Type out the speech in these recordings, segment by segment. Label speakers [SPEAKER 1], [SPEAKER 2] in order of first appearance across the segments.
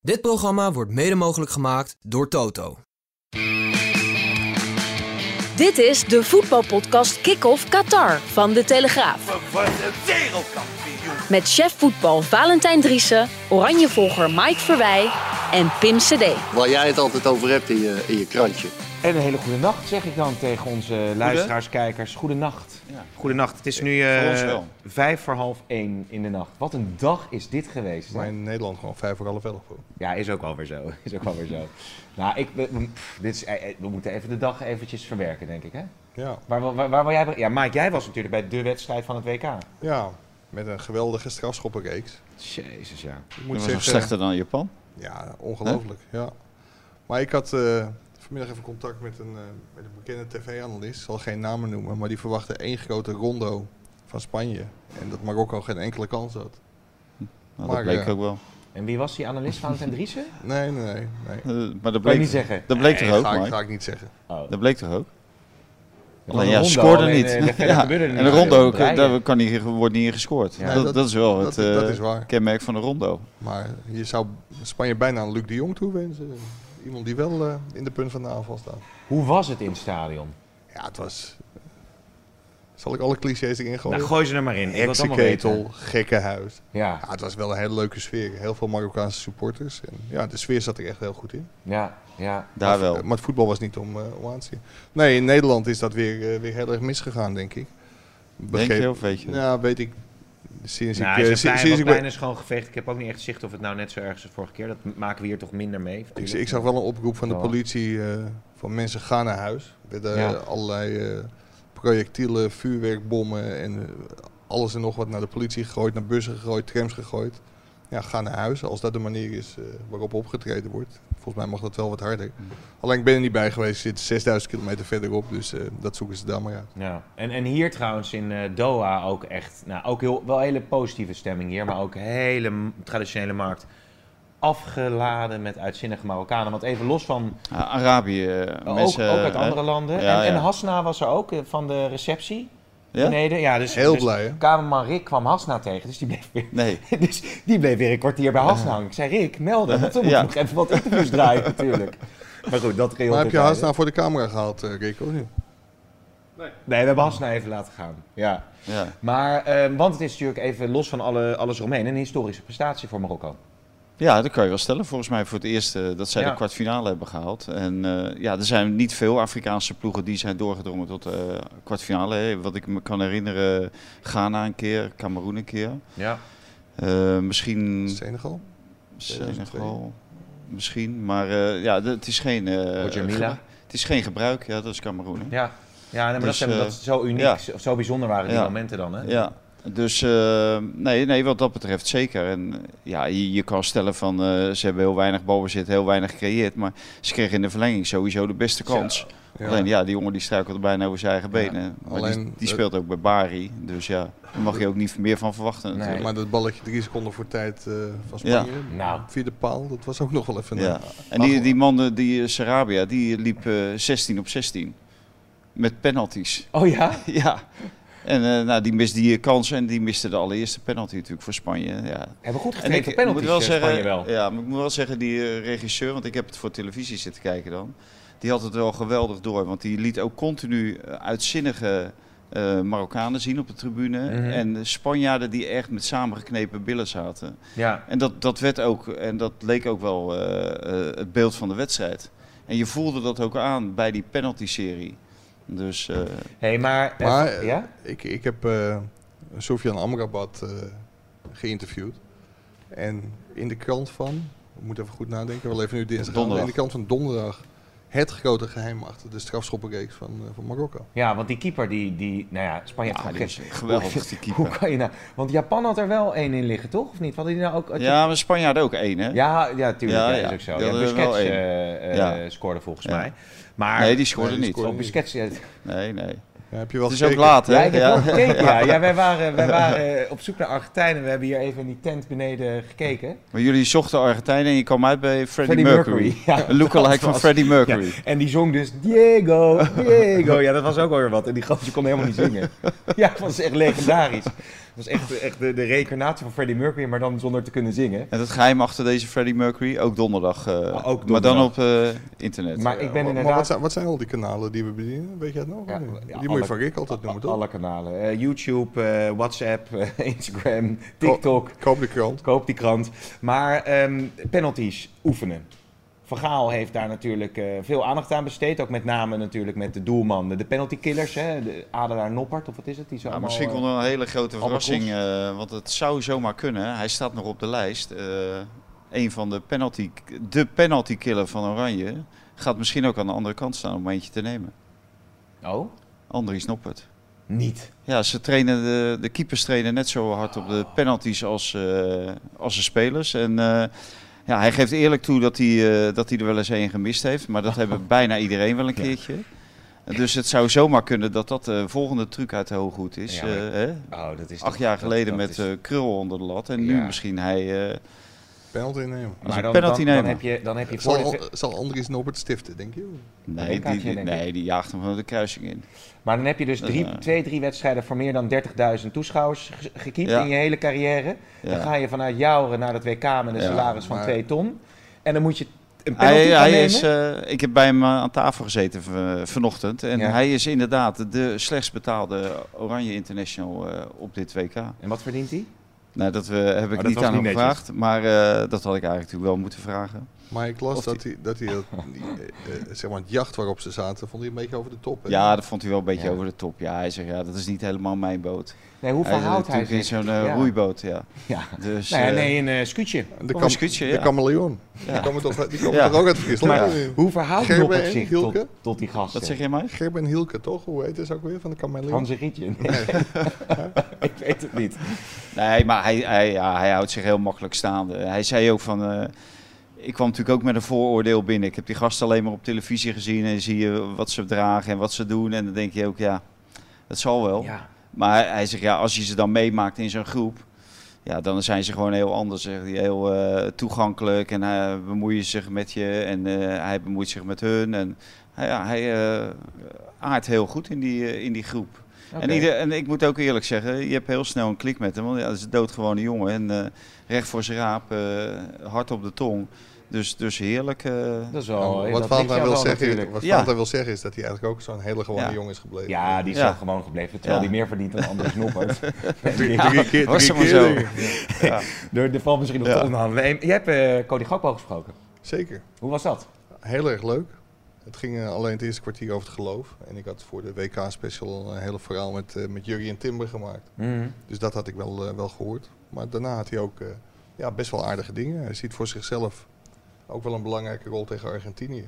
[SPEAKER 1] Dit programma wordt mede mogelijk gemaakt door Toto.
[SPEAKER 2] Dit is de voetbalpodcast Kick-Off Qatar van De Telegraaf.
[SPEAKER 3] We worden wereldkampioen.
[SPEAKER 2] Met chef voetbal Valentijn Driessen, oranjevolger Mike Verwij en Pim Cedee.
[SPEAKER 4] Waar jij het altijd over hebt in je, in je krantje.
[SPEAKER 5] En een hele goede nacht zeg ik dan tegen onze luisteraars, kijkers. Goede nacht. Goede nacht. Het is nu eh,
[SPEAKER 6] Voor ons wel.
[SPEAKER 5] vijf voor half één in de nacht. Wat een dag is dit geweest. hè?
[SPEAKER 6] Maar in Nederland gewoon vijf voor half elf. hoor.
[SPEAKER 5] Ja, is ook alweer zo. Is ook alweer zo. Nou, ik, we- we- pff, dit is, eh, eh, we moeten even de dag eventjes verwerken, denk ik. Hè?
[SPEAKER 6] Ja,
[SPEAKER 5] Waar, waar, waar, wil jij, be- ja, Mike, jij was natuurlijk bij de wedstrijd van het WK.
[SPEAKER 6] ja, met een geweldige strafschoppenreeks.
[SPEAKER 5] Jezus, ja.
[SPEAKER 6] Ik
[SPEAKER 7] Dat was nog slechter dan Japan.
[SPEAKER 6] Ja, ongelooflijk. Ja. Maar ik had eh, vanmiddag even contact met een, eh, met een bekende tv-analyst. Ik zal geen namen noemen, maar die verwachtte één grote rondo van Spanje. En dat Marokko geen enkele kans had.
[SPEAKER 7] Nou,
[SPEAKER 6] Maar,
[SPEAKER 7] dat bleek
[SPEAKER 6] eh,
[SPEAKER 7] ook wel.
[SPEAKER 5] En wie was die analist van het Driessen?
[SPEAKER 6] Nee, nee, nee. nee.
[SPEAKER 7] Eh, maar dat
[SPEAKER 5] Kan je
[SPEAKER 7] bleek,
[SPEAKER 5] niet zeggen.
[SPEAKER 7] dat bleek
[SPEAKER 6] Nee,
[SPEAKER 7] toch ook,
[SPEAKER 6] ga, ik, ga
[SPEAKER 7] Mike?
[SPEAKER 6] ik niet zeggen.
[SPEAKER 5] Oh.
[SPEAKER 7] Dat bleek toch ook?
[SPEAKER 5] was
[SPEAKER 7] Alleen
[SPEAKER 5] een
[SPEAKER 7] ja,
[SPEAKER 5] rondo,
[SPEAKER 7] scoorde
[SPEAKER 5] alleen,
[SPEAKER 7] niet.
[SPEAKER 5] eh, verder
[SPEAKER 7] Ja,
[SPEAKER 5] gebeurde er
[SPEAKER 7] En
[SPEAKER 5] niet
[SPEAKER 7] de
[SPEAKER 5] veel.
[SPEAKER 7] rondo,
[SPEAKER 5] Breien.
[SPEAKER 7] daar kan niet, wordt niet in gescoord.
[SPEAKER 5] Ja,
[SPEAKER 7] dat,
[SPEAKER 6] dat-
[SPEAKER 7] dat is wel het
[SPEAKER 6] dat- dat
[SPEAKER 7] eh,
[SPEAKER 6] is waar.
[SPEAKER 7] kenmerk van de rondo.
[SPEAKER 6] Maar je zou Spanje bijna aan Luc de Jong toewensen. Iemand die wel eh, in de punt van de aanval staat.
[SPEAKER 5] Hoe was het in het stadion?
[SPEAKER 6] Ja, het was... Zal ik alle clichés erin gooien?
[SPEAKER 5] Nou, gooi ze er maar in. Ik wil het allemaal
[SPEAKER 6] Heksenketel,
[SPEAKER 5] weten.
[SPEAKER 6] gekkenhuis.
[SPEAKER 5] Ja,
[SPEAKER 6] Ja, het was wel een hele leuke sfeer. Heel veel Marokkaanse supporters. En ja, de sfeer zat er echt heel goed in.
[SPEAKER 5] ja, ja.
[SPEAKER 7] Daar
[SPEAKER 6] maar,
[SPEAKER 7] wel.
[SPEAKER 6] Maar het voetbal was niet om, eh, om aan te zien. Nee, in Nederland is dat weer, eh, weer heel erg misgegaan, denk ik.
[SPEAKER 7] Denk je of weet je?
[SPEAKER 6] Ja, weet ik. Sinds
[SPEAKER 5] Nou,
[SPEAKER 6] ik, eh,
[SPEAKER 5] het is een
[SPEAKER 6] sinds,
[SPEAKER 5] klein, wat
[SPEAKER 6] sinds ik, bij-
[SPEAKER 5] kleiner schoongevecht. Ik heb ook niet echt zicht of het nou net zo erg is als vorige keer. Dat m- maken we hier toch minder mee.
[SPEAKER 6] ik,
[SPEAKER 5] natuurlijk.
[SPEAKER 6] ik zag wel een oproep van de
[SPEAKER 5] Ja.
[SPEAKER 6] politie eh, van mensen gaan naar huis. Er werden
[SPEAKER 5] Ja.
[SPEAKER 6] eh, allerlei eh, projectielen, vuurwerkbommen en eh, alles en nog wat naar de politie gegooid, naar bussen gegooid, trams gegooid. Ja, ga naar huis als dat de manier is eh, waarop opgetreden wordt. Volgens mij mag dat wel wat harder.
[SPEAKER 5] Mm.
[SPEAKER 6] Alleen ik ben er niet bij geweest, ik zit 6000 kilometer verderop, dus eh, dat zoeken ze daar maar uit.
[SPEAKER 5] Ja. En, en hier trouwens in eh, Doha ook echt, nou, ook heel, wel hele positieve stemming hier, maar ook hele m- traditionele markt. Afgeladen met uitzinnige Marokkanen. Want even los van,
[SPEAKER 7] Ja, Arabië, eh,
[SPEAKER 5] ook,
[SPEAKER 7] mensen...
[SPEAKER 5] ook uit
[SPEAKER 7] eh,
[SPEAKER 5] andere landen.
[SPEAKER 7] ja,
[SPEAKER 5] en, en
[SPEAKER 7] ja.
[SPEAKER 5] Hasna was er ook eh, van de receptie.
[SPEAKER 7] Ja? Nee.
[SPEAKER 5] Beneden. Ja, dus,
[SPEAKER 6] Heel
[SPEAKER 5] dus
[SPEAKER 6] blij, hè?
[SPEAKER 5] Kamerman Rick kwam Hasna tegen, dus die bleef weer
[SPEAKER 7] nee.
[SPEAKER 5] Dus die bleef weer een kwartier bij Hasna hangen. Ik zei, Rick, melden, want we moeten
[SPEAKER 7] Ja.
[SPEAKER 5] nog even wat interviews draaien natuurlijk. Maar goed, dat ging
[SPEAKER 6] Maar heb je haast nou voor de camera gehaald, eh Rick? of niet?
[SPEAKER 5] Nee, we hebben Hasna even laten gaan. Ja.
[SPEAKER 7] Ja.
[SPEAKER 5] Maar, eh, want het is natuurlijk even los van alle, alles eromheen, een historische prestatie voor Marokko.
[SPEAKER 7] ja, dat kan je wel stellen. Volgens mij voor het eerst eh, dat zij
[SPEAKER 5] Ja.
[SPEAKER 7] de kwartfinale hebben gehaald. En eh, ja, er zijn niet veel Afrikaanse ploegen die zijn doorgedrongen tot de kwartfinale. hè. Wat ik me kan herinneren, Ghana een keer, Cameroen een keer.
[SPEAKER 5] Ja.
[SPEAKER 7] Eh, misschien
[SPEAKER 6] Senegal? 2002.
[SPEAKER 7] Senegal, misschien. Maar eh, ja, d- het is geen... eh,
[SPEAKER 5] Roger Mila.
[SPEAKER 7] gebru- Het is geen gebruik, ja, dat is Cameroen. hè.
[SPEAKER 5] Ja, ja nee, maar
[SPEAKER 7] Dus,
[SPEAKER 5] dat, zijn,
[SPEAKER 7] eh,
[SPEAKER 5] dat is zo uniek,
[SPEAKER 7] ja.
[SPEAKER 5] zo, zo bijzonder waren die
[SPEAKER 7] Ja.
[SPEAKER 5] momenten dan. Hè?
[SPEAKER 7] Ja, dus eh, nee, nee, wat dat betreft zeker. En eh, ja, je, je kan stellen van eh, ze hebben heel weinig balbezit, heel weinig gecreëerd. Maar ze kregen in de verlenging sowieso de beste kans. Alleen ja, die jongen die struikelde bijna over zijn eigen benen. Maar die,
[SPEAKER 6] alleen,
[SPEAKER 7] die
[SPEAKER 6] eh,
[SPEAKER 7] speelt ook bij Bari. Dus ja, daar mag je ook niet meer van verwachten
[SPEAKER 5] Nee.
[SPEAKER 7] natuurlijk.
[SPEAKER 6] Maar dat balletje drie seconden voor tijd eh, van Spanje,
[SPEAKER 5] Nou.
[SPEAKER 6] via de paal, dat was ook nog wel even...
[SPEAKER 7] ja.
[SPEAKER 6] een-
[SPEAKER 7] En die, die man, eh, die eh, Sarabia, die liep eh, 16 op 16. Met penalties.
[SPEAKER 5] Oh ja?
[SPEAKER 7] ja. En eh, nou, die miste die kans en die miste de allereerste penalty natuurlijk voor Spanje. Ja,
[SPEAKER 5] Hebben goed
[SPEAKER 7] En
[SPEAKER 5] getraind voor penalties,
[SPEAKER 7] moet
[SPEAKER 5] wel
[SPEAKER 7] wel zeggen, eh,
[SPEAKER 5] Spanje wel.
[SPEAKER 7] Ja, maar ik moet wel zeggen, die eh, regisseur, want ik heb het voor televisie zitten kijken dan. Die had het wel geweldig door, want die liet ook continu eh, uitzinnige eh, Marokkanen zien op de tribune.
[SPEAKER 5] Mhm.
[SPEAKER 7] En Spanjaarden die echt met samengeknepen billen zaten.
[SPEAKER 5] Ja.
[SPEAKER 7] En dat, dat werd ook, en dat leek ook wel eh, eh, het beeld van de wedstrijd. En je voelde dat ook aan bij die penalty-serie. Dus eh,
[SPEAKER 5] hey, maar... eh,
[SPEAKER 6] Maar eh,
[SPEAKER 5] ja?
[SPEAKER 6] ik, ik heb eh Sofian Amrabat eh, geïnterviewd. En in de krant van, ik moet even goed nadenken, wel even nu dinsdag.
[SPEAKER 7] Donderdag.
[SPEAKER 6] In de krant van donderdag het grote geheim achter de strafschoppenreeks van, eh, van Marokko.
[SPEAKER 5] Ja, want die keeper, die, die nou ja, Spanje
[SPEAKER 7] Ja,
[SPEAKER 5] heeft
[SPEAKER 7] die
[SPEAKER 5] gewoon
[SPEAKER 7] is
[SPEAKER 5] geen-
[SPEAKER 7] geweldig,
[SPEAKER 5] Hoe-
[SPEAKER 7] die keeper.
[SPEAKER 5] Hoe kan je nou... Want Japan had er wel één in liggen, toch? Of niet? Want die nou ook... had je-
[SPEAKER 7] Ja, maar Spanjaard ook één, hè?
[SPEAKER 5] ja, ja, tuurlijk.
[SPEAKER 7] Ja,
[SPEAKER 5] Ja,
[SPEAKER 7] ja.
[SPEAKER 5] is ook zo.
[SPEAKER 7] Die
[SPEAKER 5] Ja,
[SPEAKER 7] hadden er
[SPEAKER 5] Busquets
[SPEAKER 7] wel één.
[SPEAKER 5] eh, eh,
[SPEAKER 7] Ja.
[SPEAKER 5] scoorde volgens
[SPEAKER 7] Ja.
[SPEAKER 5] mij. Maar...
[SPEAKER 7] Nee, die scoorde
[SPEAKER 6] Nee, die
[SPEAKER 7] niet.
[SPEAKER 6] scoorde
[SPEAKER 5] Oh, Busquets... Ja,
[SPEAKER 7] Nee, nee.
[SPEAKER 6] Ja, heb je wel
[SPEAKER 7] Het is ook
[SPEAKER 6] gekeken?
[SPEAKER 7] laat, hè?
[SPEAKER 5] ja, ik heb wel
[SPEAKER 7] Ja.
[SPEAKER 5] gekeken, ja. ja wij waren, wij waren eh, op zoek naar Argentijnen. We hebben hier even in die tent beneden gekeken.
[SPEAKER 7] Maar jullie zochten Argentijnen en je kwam uit bij Freddie,
[SPEAKER 5] Freddie
[SPEAKER 7] Mercury.
[SPEAKER 5] Mercury, ja.
[SPEAKER 7] Een lookalike
[SPEAKER 5] Dat
[SPEAKER 7] van
[SPEAKER 5] was-
[SPEAKER 7] Freddie
[SPEAKER 5] Ja,
[SPEAKER 7] Mercury.
[SPEAKER 5] en die zong dus Diego, Diego. Ja, dat was ook alweer wat. En die gozer kon helemaal niet zingen. Ja, dat was echt legendarisch. Dat was echt, echt de, de reïncarnatie van Freddie Mercury, maar dan zonder te kunnen zingen.
[SPEAKER 7] En het geheim achter deze Freddie Mercury, ook donderdag. eh,
[SPEAKER 5] donderdag.
[SPEAKER 7] Maar dan op eh, internet.
[SPEAKER 5] Maar ik ben
[SPEAKER 6] Maar-
[SPEAKER 5] inderdaad...
[SPEAKER 6] Maar wat zijn, wat zijn al die kanalen die we bedienen? Weet jij het nog?
[SPEAKER 5] Ja,
[SPEAKER 6] Die
[SPEAKER 5] ja,
[SPEAKER 6] moet
[SPEAKER 5] alle-
[SPEAKER 6] je van Rick altijd noemen,
[SPEAKER 5] A-
[SPEAKER 6] toch?
[SPEAKER 5] Alle kanalen. Eh, YouTube, eh, WhatsApp, eh, Instagram, TikTok.
[SPEAKER 6] Koop de krant.
[SPEAKER 5] Koop die krant. Maar ehm, penalties, oefenen. Van Gaal heeft daar natuurlijk eh, veel aandacht aan besteed. Ook met name natuurlijk met de doelmannen, de penalty killers. Hè? De Adelaar Noppert, of wat is het? Die zo
[SPEAKER 7] Ja,
[SPEAKER 5] allemaal,
[SPEAKER 7] misschien
[SPEAKER 5] eh,
[SPEAKER 7] komt er wel een hele grote
[SPEAKER 5] allemaal
[SPEAKER 7] verrassing, eh, want het zou zomaar kunnen. Hij staat nog op de lijst. Eh een van de penalty, de penalty killer van Oranje gaat misschien ook aan de andere kant staan om eentje te nemen.
[SPEAKER 5] Oh,
[SPEAKER 7] Andries Noppert.
[SPEAKER 5] niet.
[SPEAKER 7] Ja, ze trainen de, de keepers trainen net zo hard op de penalties als, eh, als de spelers. En eh, ja, hij geeft eerlijk toe dat hij, eh, dat hij er wel eens één gemist heeft. Maar dat hebben bijna iedereen wel een keertje. Dus het zou zomaar kunnen dat dat de volgende truc uit de hooghoed is.
[SPEAKER 5] Ja, maar-
[SPEAKER 7] eh, hè?
[SPEAKER 5] Oh, dat is
[SPEAKER 7] acht
[SPEAKER 5] toch-
[SPEAKER 7] jaar
[SPEAKER 5] dat-
[SPEAKER 7] geleden
[SPEAKER 5] dat
[SPEAKER 7] met
[SPEAKER 5] is-
[SPEAKER 7] eh, krul onder de lat. En nu
[SPEAKER 5] Ja.
[SPEAKER 7] misschien hij. eh,
[SPEAKER 6] Penalty nemen.
[SPEAKER 7] als
[SPEAKER 5] maar
[SPEAKER 7] een
[SPEAKER 5] dan,
[SPEAKER 7] penalty
[SPEAKER 5] dan, dan
[SPEAKER 7] nemen.
[SPEAKER 5] heb je, dan heb je voor
[SPEAKER 6] Zal,
[SPEAKER 5] de-
[SPEAKER 6] zal Andries Norbert stiften, denk je?
[SPEAKER 7] nee, die,
[SPEAKER 5] kaartje,
[SPEAKER 7] die-
[SPEAKER 5] denk ik.
[SPEAKER 7] nee, die jaagt hem van de kruising in.
[SPEAKER 5] Maar dan heb je dus
[SPEAKER 7] Dat
[SPEAKER 5] drie,
[SPEAKER 7] is waar.
[SPEAKER 5] twee, drie wedstrijden voor meer dan 30.000 toeschouwers ge- gekiept
[SPEAKER 7] Ja.
[SPEAKER 5] in je hele carrière. Dan
[SPEAKER 7] Ja.
[SPEAKER 5] ga je vanuit Jouren naar dat WK met een
[SPEAKER 7] Ja,
[SPEAKER 5] salaris van
[SPEAKER 6] maar-
[SPEAKER 5] 2 ton. En dan moet je een penalty
[SPEAKER 7] Hij,
[SPEAKER 5] gaan
[SPEAKER 7] hij
[SPEAKER 5] nemen.
[SPEAKER 7] is, eh, ik heb bij hem eh, aan tafel gezeten v- eh, vanochtend. En
[SPEAKER 5] Ja.
[SPEAKER 7] hij is inderdaad de slechts betaalde Oranje International eh, op dit WK.
[SPEAKER 5] En wat verdient hij?
[SPEAKER 7] Nou, dat we, heb ik
[SPEAKER 5] dat
[SPEAKER 7] niet
[SPEAKER 5] was
[SPEAKER 7] aan
[SPEAKER 5] niet netjes.
[SPEAKER 7] hem gevraagd. Maar eh, dat had ik eigenlijk natuurlijk wel moeten vragen.
[SPEAKER 6] Maar ik las
[SPEAKER 7] Of
[SPEAKER 6] dat hij, dat hij dat, die, eh, eh, zeg maar het jacht waarop ze zaten, vond hij een beetje over de top. hè?
[SPEAKER 7] Ja, dat vond hij wel een beetje
[SPEAKER 5] Ja.
[SPEAKER 7] over de top. Ja, hij zegt, ja, dat is niet helemaal mijn boot.
[SPEAKER 5] Nee, hoeveel
[SPEAKER 7] hij
[SPEAKER 5] houdt hij
[SPEAKER 7] natuurlijk in
[SPEAKER 5] zich?
[SPEAKER 7] zo'n eh,
[SPEAKER 5] Ja.
[SPEAKER 7] roeiboot, ja.
[SPEAKER 5] Ja.
[SPEAKER 7] Dus,
[SPEAKER 5] Nou ja,
[SPEAKER 7] eh,
[SPEAKER 5] nee, een eh, scootje.
[SPEAKER 6] de
[SPEAKER 7] een
[SPEAKER 6] kam-
[SPEAKER 7] scootje,
[SPEAKER 6] de
[SPEAKER 7] ja.
[SPEAKER 6] kameleon. Die
[SPEAKER 7] Ja.
[SPEAKER 6] komen toch, die komen
[SPEAKER 7] Ja.
[SPEAKER 6] toch ook uit Friesland?
[SPEAKER 5] Maar
[SPEAKER 6] Ja.
[SPEAKER 5] hoe verhoudt
[SPEAKER 6] Gerben
[SPEAKER 5] Noppert
[SPEAKER 6] en
[SPEAKER 5] zich
[SPEAKER 6] Hielke?
[SPEAKER 5] tot, tot die gasten?
[SPEAKER 7] Wat zeg je, Mike?
[SPEAKER 6] Gerben en Hielke, toch? Hoe heet het ook weer? Van de kameleon?
[SPEAKER 5] Hans en Grietje? Nee. ik weet het niet.
[SPEAKER 7] Nee, maar hij, hij, ja, hij houdt zich heel makkelijk staande. Hij zei ook van... eh, ik kwam natuurlijk ook met een vooroordeel binnen. Ik heb die gasten alleen maar op televisie gezien en zie je wat ze dragen en wat ze doen. En dan denk je ook, ja, dat zal wel.
[SPEAKER 5] Ja.
[SPEAKER 7] Maar hij, hij zegt, ja, als je ze dan meemaakt in zo'n groep, ja, dan zijn ze gewoon heel anders. Zegt hij, heel eh, toegankelijk en hij bemoeien zich met je en eh, hij bemoeit zich met hun. En hij, ja, hij eh, aardt heel goed in die, eh, in die groep.
[SPEAKER 5] Oké.
[SPEAKER 7] En, ieder- en ik moet ook eerlijk zeggen, je hebt heel snel een klik met hem. Want ja, dat is een doodgewone jongen. En eh, recht voor zijn raap, eh, hard op de tong. Dus, dus heerlijk. eh.
[SPEAKER 5] Dat is
[SPEAKER 6] Nou,
[SPEAKER 5] wel... eh,
[SPEAKER 6] wat
[SPEAKER 5] dat
[SPEAKER 6] Valentijn
[SPEAKER 5] ligt jou
[SPEAKER 6] wil,
[SPEAKER 5] wel
[SPEAKER 6] zeggen,
[SPEAKER 5] natuurlijk.
[SPEAKER 6] wat
[SPEAKER 7] Ja.
[SPEAKER 6] Valentijn wil zeggen is dat hij eigenlijk ook zo'n hele gewone
[SPEAKER 7] Ja.
[SPEAKER 6] jongen is gebleven.
[SPEAKER 5] Ja, die is
[SPEAKER 7] Ja.
[SPEAKER 5] wel gewoon gebleven. Terwijl
[SPEAKER 7] Ja.
[SPEAKER 5] die meer verdient dan Anders Noppert.
[SPEAKER 6] Drie keer, drie
[SPEAKER 7] was er maar
[SPEAKER 6] keer,
[SPEAKER 7] zo.
[SPEAKER 6] denk ik.
[SPEAKER 5] Er er valt misschien nog
[SPEAKER 7] Ja.
[SPEAKER 5] te onderhandelen. Hey, Jij hebt eh Cody Gakpo gesproken.
[SPEAKER 6] Zeker.
[SPEAKER 5] Hoe was dat?
[SPEAKER 6] Heel erg leuk. Het ging eh, alleen het eerste kwartier over het geloof. En ik had voor de WK-special een hele verhaal met, eh met Jurrie en Timber gemaakt. Dus dat had ik wel, eh, wel gehoord. Maar daarna had hij ook eh, ja, best wel aardige dingen. Hij ziet voor zichzelf ook wel een belangrijke rol tegen Argentinië.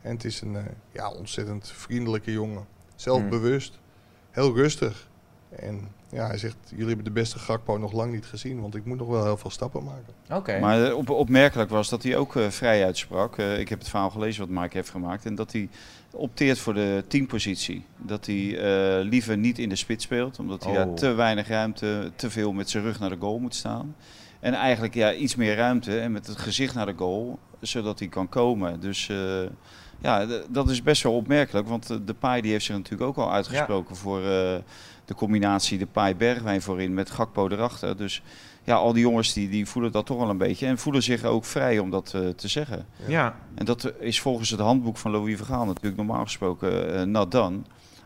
[SPEAKER 6] En het is een eh, ja, ontzettend vriendelijke jongen. Zelfbewust, heel rustig. En ja, hij zegt, jullie hebben de beste Gakpo nog lang niet gezien. Want ik moet nog wel heel veel stappen maken.
[SPEAKER 5] Oké.
[SPEAKER 7] Maar eh, op, opmerkelijk was dat hij ook eh, vrij uitsprak. Eh, ik heb het verhaal gelezen wat Mike heeft gemaakt. En dat hij opteert voor de teampositie. Dat hij eh, liever niet in de spits speelt. Omdat hij
[SPEAKER 5] Oh.
[SPEAKER 7] daar te weinig ruimte, te veel met zijn rug naar de goal moet staan. En eigenlijk ja, iets meer ruimte en met het gezicht naar de goal. Zodat hij kan komen. Dus eh, ja, d- dat is best wel opmerkelijk. Want eh, de Pai die heeft zich natuurlijk ook al uitgesproken voor... eh, de combinatie de Pai Bergwijn voorin met Gakpo erachter. Dus ja, al die jongens die, die voelen dat toch wel een beetje. En voelen zich ook vrij om dat eh, te zeggen.
[SPEAKER 5] ja.
[SPEAKER 7] En dat is volgens het handboek van Louis Vergaal natuurlijk normaal gesproken eh not done.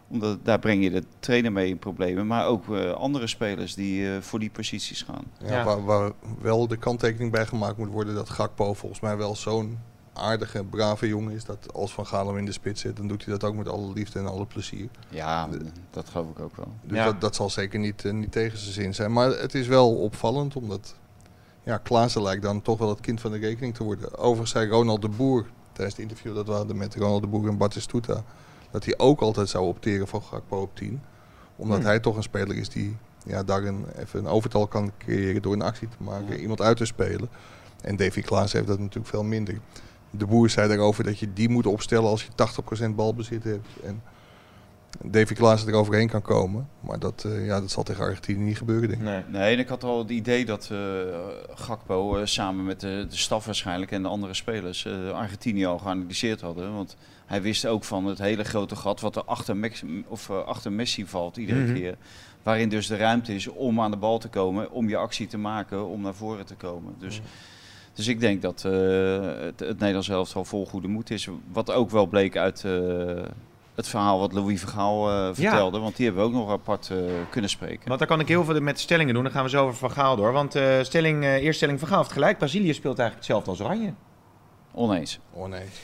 [SPEAKER 7] Omdat daar breng je de trainer mee in problemen. Maar ook eh, andere spelers die eh, voor die posities gaan.
[SPEAKER 6] Ja,
[SPEAKER 5] Ja.
[SPEAKER 6] Waar, waar wel de kanttekening bij gemaakt moet worden dat Gakpo volgens mij wel zo'n aardige, brave jongen is. Dat als Van Gaal hem in de spits zit, dan doet hij dat ook met alle liefde en alle plezier.
[SPEAKER 7] Ja, dat geloof ik ook wel.
[SPEAKER 6] Dus
[SPEAKER 5] Ja.
[SPEAKER 6] dat, dat zal zeker niet, eh, niet tegen zijn zin zijn. Maar het is wel opvallend, omdat ja, Klaassen lijkt dan toch wel het kind van de rekening te worden. Overigens zei Ronald de Boer tijdens het interview dat we hadden met Ronald de Boer en Batistuta, dat hij ook altijd zou opteren voor Gakpo op 10. Omdat
[SPEAKER 5] Hmm.
[SPEAKER 6] hij toch een speler is die ja, daarin even een overtal kan creëren door een actie te maken, iemand uit te spelen. En Davy Klaas heeft dat natuurlijk veel minder. De Boer zei daarover dat je die moet opstellen als je 80% balbezit hebt. En Davy Klaas er overheen kan komen. Maar dat, eh, ja, dat zal tegen Argentinië niet gebeuren, denk ik.
[SPEAKER 5] Nee.
[SPEAKER 7] Nee, en ik had al het idee dat eh, Gakpo eh, samen met de, de staf waarschijnlijk en de andere spelers eh, Argentinië al geanalyseerd hadden. Want hij wist ook van het hele grote gat wat er achter, Mex- of, eh, achter Messi valt iedere
[SPEAKER 5] Mhm.
[SPEAKER 7] keer. Waarin dus de ruimte is om aan de bal te komen, om je actie te maken, om naar voren te komen. Dus, dus ik denk dat eh, het, het Nederlands elftal vol goede moed is. Wat ook wel bleek uit eh, het verhaal wat Louis Vergaal eh, vertelde. Want die hebben we ook nog apart eh, kunnen spreken.
[SPEAKER 5] Want daar kan ik heel veel met stellingen doen. Dan gaan we zo over Van Gaal door. Want eh stelling, eh eerste stelling Van Gaal heeft gelijk. Brazilië speelt eigenlijk hetzelfde als Oranje.
[SPEAKER 7] Oneens.
[SPEAKER 6] Oneens.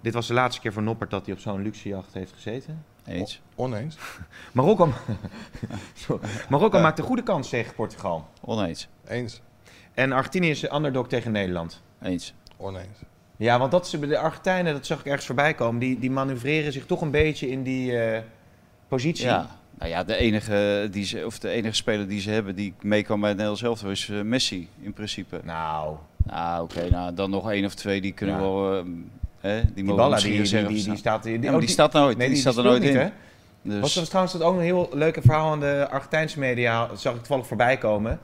[SPEAKER 5] Dit was de laatste keer voor Noppert dat hij op zo'n luxe jacht heeft gezeten.
[SPEAKER 7] Eens.
[SPEAKER 6] Oneens.
[SPEAKER 5] Marokko, Sorry. Marokko maakt een goede kans tegen Portugal.
[SPEAKER 7] Oneens.
[SPEAKER 6] Eens.
[SPEAKER 5] En Argentinië is de underdog tegen Nederland.
[SPEAKER 7] Eens.
[SPEAKER 6] Oneens.
[SPEAKER 5] Ja, want dat is, de Argentijnen, dat zag ik ergens voorbij komen, die, die manoeuvreren zich toch een beetje in die eh, positie.
[SPEAKER 7] Ja. Nou ja, de enige, die ze, of de enige speler die ze hebben die mee kan bij het Nederlands elftal is eh, Messi in principe.
[SPEAKER 5] Nou,
[SPEAKER 7] Nou, oké. nou, dan nog één of twee die kunnen
[SPEAKER 5] Ja.
[SPEAKER 7] wel... eh, hè, die
[SPEAKER 5] die
[SPEAKER 7] mogen
[SPEAKER 5] Balla,
[SPEAKER 7] misschien
[SPEAKER 5] die, die, die,
[SPEAKER 7] reserve
[SPEAKER 5] die,
[SPEAKER 7] staan.
[SPEAKER 5] staat... Die,
[SPEAKER 7] Ja, maar
[SPEAKER 5] ook
[SPEAKER 7] die staat nooit.
[SPEAKER 5] Nee,
[SPEAKER 7] die, staat er
[SPEAKER 5] speelt
[SPEAKER 7] nooit
[SPEAKER 5] niet,
[SPEAKER 7] in.
[SPEAKER 5] hè? Was
[SPEAKER 7] Dus,
[SPEAKER 5] er trouwens ook een heel leuk verhaal aan de Argentijnse media. Dat zag ik toevallig voorbij komen.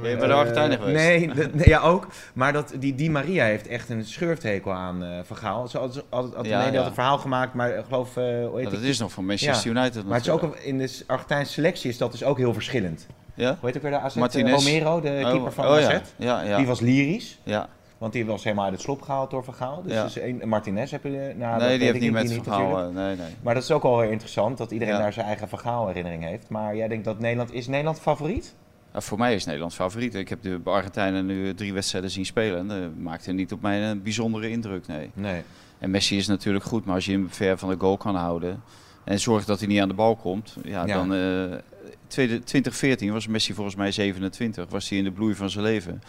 [SPEAKER 7] ben je bij de Argentijnen
[SPEAKER 5] Eh,
[SPEAKER 7] geweest?
[SPEAKER 5] Nee, dat- nee, ja ook. Maar dat, die, die Maria heeft echt een schurfthekel aan eh Van Gaal. Ze had, had, had,
[SPEAKER 7] Ja,
[SPEAKER 5] nee, die
[SPEAKER 7] ja.
[SPEAKER 5] had een verhaal gemaakt, maar ik geloof... eh, hoe heet
[SPEAKER 7] Nou, dat
[SPEAKER 5] die-
[SPEAKER 7] is nog van Manchester United
[SPEAKER 5] maar het is ook,
[SPEAKER 7] natuurlijk.
[SPEAKER 5] een- in de Argentijnse selectie is dat dus ook heel verschillend.
[SPEAKER 7] Ja?
[SPEAKER 5] Hoe heet ook weer de AZ?
[SPEAKER 7] Martinez.
[SPEAKER 5] Romero, de keeper van
[SPEAKER 7] oh,
[SPEAKER 5] AZ.
[SPEAKER 7] ja. Ja, ja.
[SPEAKER 5] Die was lyrisch,
[SPEAKER 7] ja.
[SPEAKER 5] want die was helemaal uit het slop gehaald door Van Gaal. Dus
[SPEAKER 7] Ja.
[SPEAKER 5] dat is één- en Martinez heb je... eh, Nou, dat
[SPEAKER 7] nee,
[SPEAKER 5] weet
[SPEAKER 7] die heeft
[SPEAKER 5] ik
[SPEAKER 7] niet met
[SPEAKER 5] natuurlijk.
[SPEAKER 7] verhaal. eh, Nee, nee.
[SPEAKER 5] Maar dat is ook wel weer interessant, dat iedereen
[SPEAKER 7] Ja.
[SPEAKER 5] daar zijn eigen verhaal herinnering heeft. Maar jij denkt dat Nederland... Is Nederland favoriet?
[SPEAKER 7] Nou, voor mij is Nederland favoriet. Ik heb de Argentijnen nu eh, drie wedstrijden zien spelen. En dat maakte niet op mij een bijzondere indruk, nee.
[SPEAKER 5] Nee.
[SPEAKER 7] En Messi is natuurlijk goed, maar als je hem ver van de goal kan houden en zorgt dat hij niet aan de bal komt, ja,
[SPEAKER 5] Ja.
[SPEAKER 7] dan. eh, tweede- 2014 was Messi volgens mij 27, was hij in de bloei van zijn leven.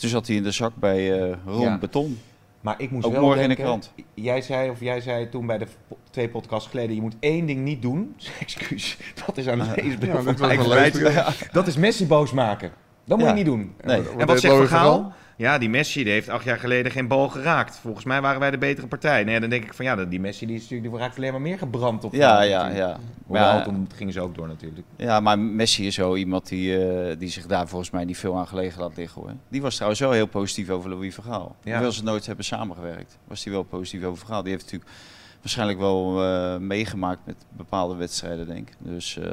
[SPEAKER 7] Toen zat hij in de zak bij eh Ron
[SPEAKER 5] Ja.
[SPEAKER 7] Beton.
[SPEAKER 5] Maar ik moest
[SPEAKER 7] Ook
[SPEAKER 5] wel
[SPEAKER 7] morgen in de
[SPEAKER 5] denken,
[SPEAKER 7] krant.
[SPEAKER 5] Jij zei, of jij zei toen bij de po- twee podcasts geleden, je moet één ding niet doen. Excuus, dat is aan het leesbeeld
[SPEAKER 6] Ja,
[SPEAKER 5] van
[SPEAKER 6] dit was
[SPEAKER 5] Ajax
[SPEAKER 6] wel leuk.
[SPEAKER 5] Leipzig. Dat is Messi boos maken. Dat moet
[SPEAKER 7] Ja.
[SPEAKER 5] je niet doen.
[SPEAKER 7] Nee.
[SPEAKER 6] Wat
[SPEAKER 5] En wat zegt
[SPEAKER 6] deed
[SPEAKER 5] Van
[SPEAKER 6] Louis van
[SPEAKER 5] Gaal?
[SPEAKER 6] Gaal?
[SPEAKER 5] Ja, die Messi die heeft acht jaar geleden geen bal geraakt. Volgens mij waren wij de betere partij. Nee, dan denk ik van ja, dat- die Messi die, is natuurlijk, die raakt alleen maar meer gebrand op.
[SPEAKER 7] Ja,
[SPEAKER 5] eh,
[SPEAKER 7] ja,
[SPEAKER 5] natuurlijk.
[SPEAKER 7] ja.
[SPEAKER 5] Hoewel,
[SPEAKER 7] Maar,
[SPEAKER 5] toen gingen ze ook door natuurlijk.
[SPEAKER 7] ja, maar Messi is zo iemand die, eh, die zich daar volgens mij niet veel aan gelegen laat liggen. Hoor. Die was trouwens wel heel positief over Louis Vergaal.
[SPEAKER 5] Ja.
[SPEAKER 7] Hoewel ze nooit hebben samengewerkt, was hij wel positief over Vergaal. Die heeft natuurlijk waarschijnlijk wel eh, meegemaakt met bepaalde wedstrijden, denk ik. Dus eh,